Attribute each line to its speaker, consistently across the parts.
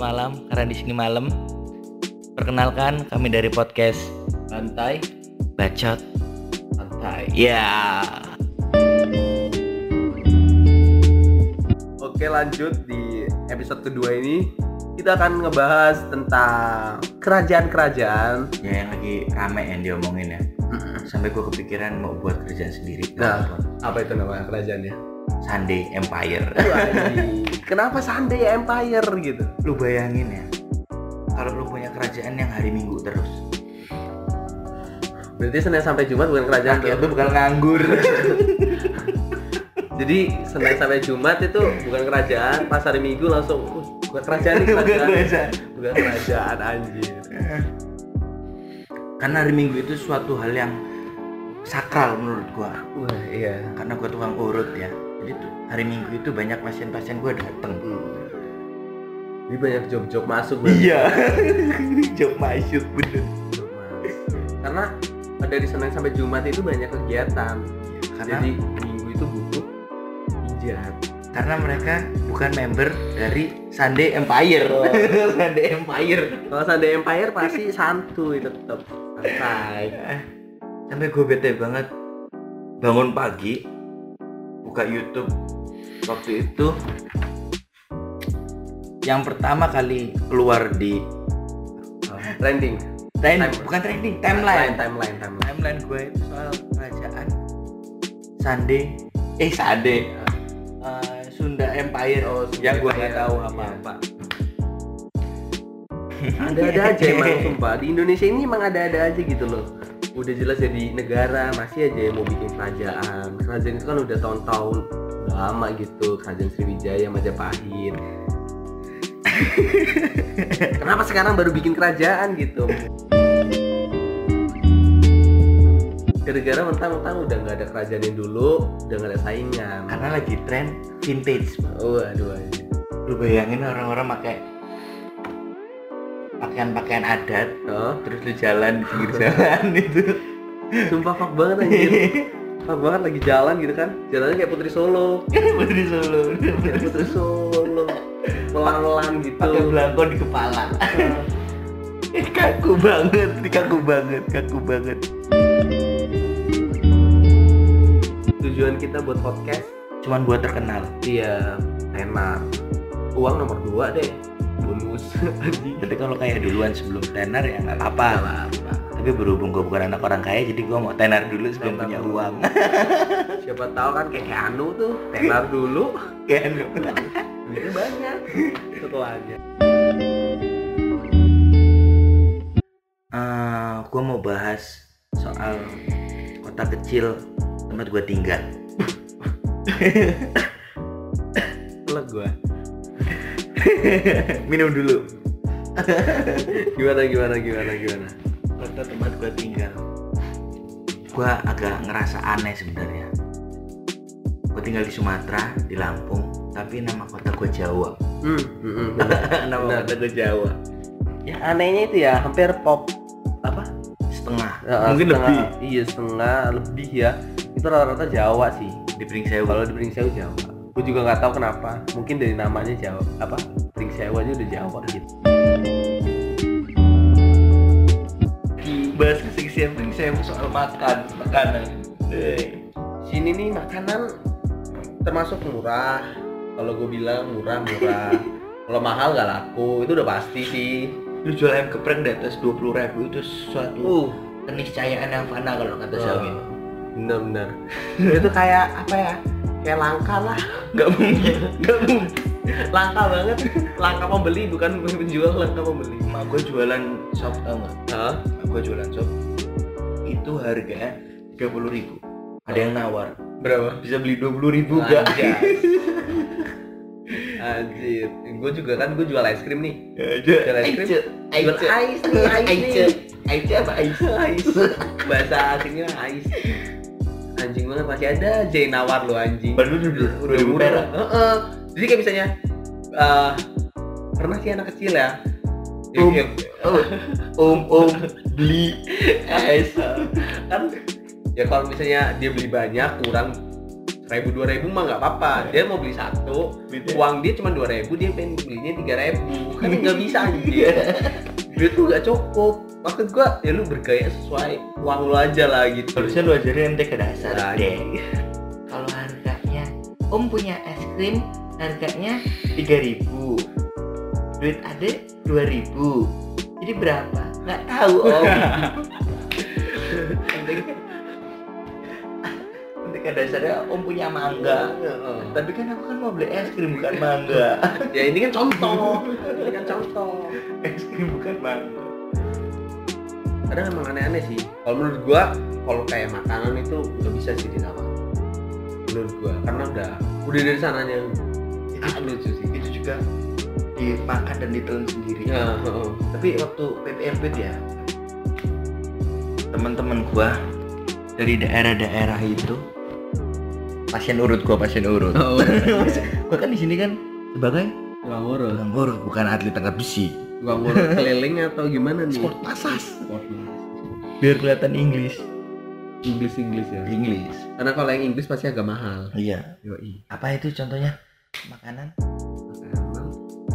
Speaker 1: orang di sini malam. Perkenalkan kami dari podcast
Speaker 2: Lantai,
Speaker 1: Bacot.
Speaker 2: lantai.
Speaker 1: Ya.
Speaker 2: Oke lanjut di episode kedua ini kita akan ngebahas tentang kerajaan-kerajaan.
Speaker 1: Ya yang lagi rame yang diomongin ya. Sampai gue kepikiran mau buat kerjaan sendiri.
Speaker 2: Nah. Apa itu nama kerajaannya?
Speaker 1: Sunday Empire.
Speaker 2: Kenapa Sunday Empire gitu?
Speaker 1: lu bayangin ya. Kalau lu punya kerajaan yang hari Minggu terus.
Speaker 2: Berarti Senin sampai Jumat bukan kerajaan
Speaker 1: Rakyat
Speaker 2: tuh.
Speaker 1: Kan tuh bakal nganggur.
Speaker 2: Jadi Senin sampai Jumat itu bukan kerajaan, pas hari Minggu langsung "Uh, bukan kerajaan, nih,
Speaker 1: Bukan
Speaker 2: kerajaan.
Speaker 1: kerajaan.
Speaker 2: Bukan kerajaan anjir.
Speaker 1: Karena hari Minggu itu suatu hal yang sakral menurut gua.
Speaker 2: Wah, iya.
Speaker 1: Karena gua tukang urut ya. Jadi tuh hari Minggu itu banyak pasien-pasien gua dateng.
Speaker 2: Hmm. Ini banyak job-job masuk berarti.
Speaker 1: Iya. Job my shoot bener.
Speaker 2: Job masuk. Karena dari Senin sampai Jumat itu banyak kegiatan.
Speaker 1: Karena
Speaker 2: Jadi minggu itu butuh pijat.
Speaker 1: karena mereka bukan member dari Sunday Empire.
Speaker 2: Oh.
Speaker 1: Sunday Empire.
Speaker 2: Kalau Sunday Empire pasti santuy tetap santai.
Speaker 1: Sampai gue bete banget bangun pagi buka YouTube waktu itu yang pertama kali keluar di
Speaker 2: Trending.
Speaker 1: Time,
Speaker 2: Time-
Speaker 1: bukan trending, timeline.
Speaker 2: Timeline, timeline.
Speaker 1: Timeline gue itu soal kerajaan Sande, eh Sande, eh, Sunda Empire.
Speaker 2: Oh, Sunda
Speaker 1: yang gue Ya, nggak
Speaker 2: Empire,
Speaker 1: tahu
Speaker 2: iya.
Speaker 1: apa-apa. Iya.
Speaker 2: Ada-ada aja emang sumpah di Indonesia ini emang ada-ada aja gitu loh. Udah jelas jadi negara masih aja yang mau bikin kerajaan. Kerajaan itu kan udah tahun-tahun udah lama gitu kerajaan Sriwijaya Majapahit. Kenapa sekarang baru bikin kerajaan gitu? Gara-gara mentang-mentang udah nggak ada kerajaan yang dulu, udah nggak ada saingan.
Speaker 1: Karena lagi tren vintage. Bang.
Speaker 2: Waduh, aja.
Speaker 1: Lu bayangin orang-orang pakai pakaian-pakaian adat,
Speaker 2: Oh,
Speaker 1: terus lu jalan di pinggir jalan itu.
Speaker 2: sumpah fak banget anjir.
Speaker 1: Iya.
Speaker 2: Fak banget lagi jalan gitu kan. Jalannya kayak Putri Solo.
Speaker 1: Putri Solo,
Speaker 2: Kayak Putri Solo pelan-pelan gitu
Speaker 1: pakai belangko di kepala. kaku banget, kaku banget, kaku banget.
Speaker 2: tujuan kita buat podcast
Speaker 1: Cuman buat terkenal.
Speaker 2: iya tenar uang nomor dua deh bonus anjing
Speaker 1: Tapi kalau kayak duluan sebelum tenar ya nggak apa-apa. Tapi berhubung gue bukan anak orang kaya, jadi gue mau tenar dulu sebelum
Speaker 2: Tenar
Speaker 1: punya
Speaker 2: dulu.
Speaker 1: uang.
Speaker 2: siapa tahu kan kayak Keanu tuh tenar dulu
Speaker 1: Kan?
Speaker 2: duitnya banyak setelahnya
Speaker 1: Eh, gue mau bahas soal kota kecil tempat gue tinggal.
Speaker 2: telak gua
Speaker 1: Minum dulu.
Speaker 2: gimana gimana gimana gimana
Speaker 1: Kota tempat gue tinggal. Gue agak ngerasa aneh sebenarnya. Gue tinggal di Sumatera, di Lampung, tapi nama kota gue Jawa.
Speaker 2: hmm, hmm, hmm, bener.
Speaker 1: nama kota gue Jawa.
Speaker 2: yang anehnya itu ya hampir pop apa
Speaker 1: Setengah.
Speaker 2: Eh,
Speaker 1: Mungkin
Speaker 2: setengah-
Speaker 1: lebih.
Speaker 2: iya setengah lebih ya itu rata-rata Jawa sih
Speaker 1: Di Pringsewu.
Speaker 2: kalau di Pringsewu Jawa gue juga nggak tahu kenapa mungkin dari namanya Jawa apa Pringsewu aja udah Jawa gitu
Speaker 1: bahas keseksian Pringsewu soal makan, makanan. Eh.
Speaker 2: sini nih makanan termasuk murah kalau gue bilang murah murah kalau mahal nggak laku itu udah pasti sih
Speaker 1: lu jual ayam geprek di atas dua puluh ribu itu suatu
Speaker 2: uh
Speaker 1: keniscayaan yang fana kalau kata Xiaomi
Speaker 2: bener bener gitu. itu kayak apa ya kayak langka lah
Speaker 1: nggak mungkin nggak mungkin
Speaker 2: langka banget langka pembeli bukan penjual langka pembeli
Speaker 1: mak gua jualan sop tau nggak
Speaker 2: Hah?
Speaker 1: mak gua jualan sop itu harga tiga puluh ribu ada yang nawar
Speaker 2: berapa
Speaker 1: bisa beli dua puluh ribu gak
Speaker 2: Anjir, gue juga kan gue jual es krim nih
Speaker 1: Ya, aja
Speaker 2: Jual es krim? Jual
Speaker 1: Aice
Speaker 2: ais nih, ais
Speaker 1: Aice
Speaker 2: nih
Speaker 1: Aice apa Aice
Speaker 2: Ais. Bahasa asingnya ais Anjing banget, masih ada aja yang nawar lo anjing
Speaker 1: baru dulu dua ribu perak
Speaker 2: Heeh. Jadi kayak misalnya eh, Pernah sih anak kecil ya Ya,
Speaker 1: Um.
Speaker 2: ya,
Speaker 1: Oh, om om beli es
Speaker 2: kan ya kalau misalnya dia beli banyak kurang ribu dua ribu mah nggak apa-apa dia mau beli satu uang dia cuma dua ribu dia pengen belinya tiga ribu kan nggak bisa anjir duit tuh nggak cukup maksud gua ya lu bergaya sesuai uang lu aja lah gitu
Speaker 1: harusnya lu ajarin MTK dasar
Speaker 2: Nah,
Speaker 1: deh
Speaker 3: kalau harganya om punya es krim harganya 3000 duit ade 2000 jadi berapa nggak tahu om nanti kan dasarnya om punya mangga
Speaker 2: Heeh.
Speaker 3: tapi kan aku kan mau beli es krim bukan mangga
Speaker 2: ya ini kan contoh ini kan contoh
Speaker 1: es krim bukan mangga
Speaker 2: kadang emang aneh-aneh sih kalau menurut gua kalau kayak makanan itu nggak bisa sih disamain menurut gua karena udah udah dari sananya ah, lucu sih
Speaker 1: itu juga dimakan dan ditelan sendiri
Speaker 2: ya heeh.
Speaker 1: tapi waktu PPMP tuh ya teman-teman gua dari daerah-daerah itu pasien urut gua pasien urut gua kan di sini kan sebagai
Speaker 2: tukang urut
Speaker 1: orang urut bukan atlet angkat besi
Speaker 2: tukang urut keliling atau gimana nih
Speaker 1: sport pasas
Speaker 2: Sport.
Speaker 1: biar kelihatan Inggris
Speaker 2: Inggris Inggris ya
Speaker 1: Inggris
Speaker 2: karena kalau yang Inggris pasti agak mahal
Speaker 1: iya
Speaker 2: yoi
Speaker 1: apa itu contohnya makanan
Speaker 2: Makanan.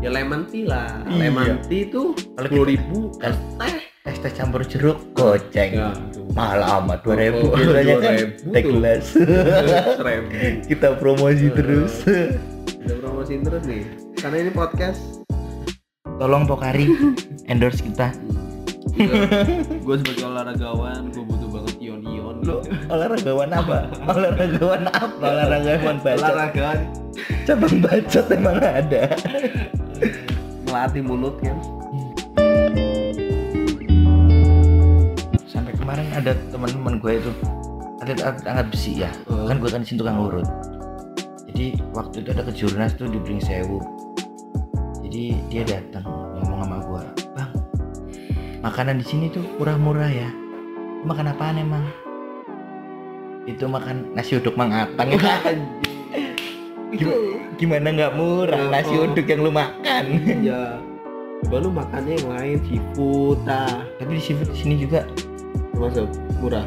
Speaker 2: ya lemon tea lah
Speaker 1: Iya.
Speaker 2: lemon tea tuh
Speaker 1: Kalau
Speaker 2: sepuluh ribu
Speaker 1: kan
Speaker 2: teh Ya.
Speaker 1: es teh campur jeruk goceng mahal amat Iya. dua ribu
Speaker 2: Oh, iya,
Speaker 1: Soalnya kan
Speaker 2: 2.000
Speaker 1: teh
Speaker 2: tuh.
Speaker 1: gelas
Speaker 2: seribu
Speaker 1: kita promosi terus
Speaker 2: udah promosiin terus nih karena ini podcast
Speaker 1: tolong Pokari endorse kita
Speaker 4: gue sebagai olahragawan gue butuh banget ion-ion
Speaker 1: lo olahragawan apa olahragawan apa olahragawan bacot
Speaker 4: olahragawan
Speaker 1: cabang bacot emang ada
Speaker 2: melatih mulut kan
Speaker 1: sampai kemarin ada teman-teman gue itu ada angkat, angkat besi ya kan gue kan di sini tukang urut jadi waktu itu ada kejurnas tuh di Pringsewu jadi dia datang ngomong sama gue bang makanan di sini tuh murah-murah ya Lu makan apaan emang itu makan nasi uduk mang atang Gim- gimana nggak murah nasi
Speaker 2: Oh.
Speaker 1: uduk yang lu makan
Speaker 2: ya coba lu makannya yang lain seafood nah
Speaker 1: tapi di sini- di sini juga
Speaker 2: termasuk murah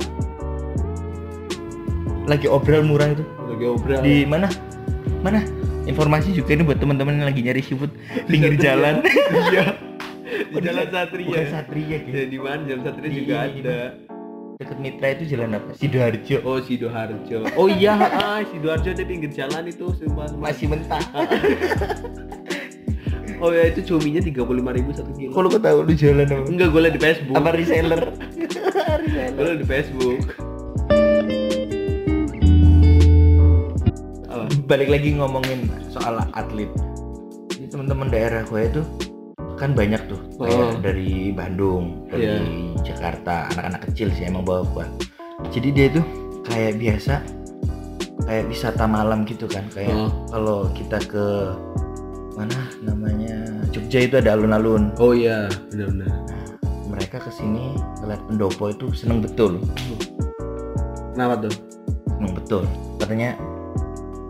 Speaker 1: lagi obral murah itu
Speaker 2: lagi obral
Speaker 1: di mana mana informasi juga ini buat teman-teman yang lagi nyari seafood pinggir jalan
Speaker 4: di jalan satria
Speaker 1: bukan Satria gitu
Speaker 2: ya di mana jam satria
Speaker 1: Di-
Speaker 2: juga ada
Speaker 1: deket Mitra itu jalan apa Sidoarjo
Speaker 2: oh sidoarjo oh iya ah, sidoarjo di pinggir jalan itu sumpah sumpah.
Speaker 1: masih mentah
Speaker 2: oh ya itu cuminya tiga puluh lima ribu satu kilo
Speaker 1: kalau kau tahu lu jalan apa
Speaker 2: enggak gue liat di facebook
Speaker 1: apa reseller
Speaker 2: gue liat di facebook apa
Speaker 1: balik lagi ngomongin soal atlet jadi teman-teman daerah gue itu kan banyak tuh kayak
Speaker 2: Oh.
Speaker 1: dari Bandung dari
Speaker 2: Iya.
Speaker 1: Jakarta anak-anak kecil sih emang bawa gua jadi dia tuh kayak biasa kayak wisata malam gitu kan kayak
Speaker 2: Oh.
Speaker 1: kalau kita ke mana namanya Jogja itu ada alun-alun
Speaker 2: oh iya benar-benar
Speaker 1: mereka kesini ngeliat pendopo itu seneng betul
Speaker 2: kenapa tuh
Speaker 1: seneng betul katanya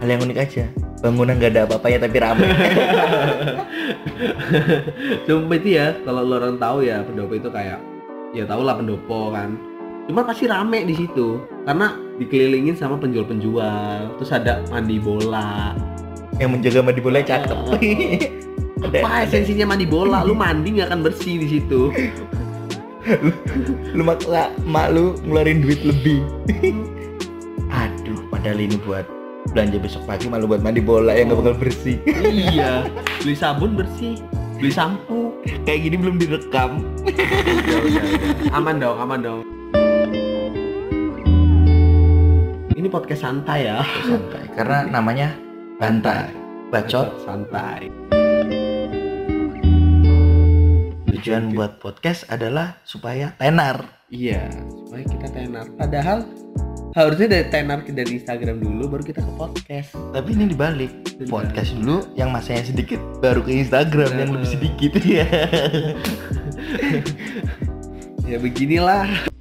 Speaker 1: hal yang unik aja bangunan gak ada apa-apanya tapi ramai
Speaker 2: Cuma itu ya, kalau lo orang tahu ya pendopo itu kayak ya tau lah pendopo kan. Cuma pasti rame di situ karena dikelilingin sama penjual-penjual. Terus ada mandi bola.
Speaker 1: yang menjaga mandi bola cakep ada,
Speaker 2: Apa
Speaker 1: ada
Speaker 2: esensinya mandi bola? Lu mandi nggak akan bersih di situ.
Speaker 1: lu mak la- mak lu ngeluarin duit lebih aduh padahal ini buat belanja besok pagi malu buat mandi bola yang gak bakal bersih
Speaker 2: iya, beli sabun bersih, beli sampo.
Speaker 1: kayak gini belum direkam
Speaker 2: Aman dong, aman dong. Ini podcast santai ya.
Speaker 1: santai karena namanya bantai bacot
Speaker 2: santai.
Speaker 1: tujuan buat podcast adalah supaya tenar
Speaker 2: Iya, supaya kita tenar. Padahal harusnya dari tenar ke- dari Instagram dulu baru kita ke podcast.
Speaker 1: tapi ini dibalik podcast dulu yang masanya sedikit baru ke Instagram yang lebih sedikit ya
Speaker 2: Ya beginilah.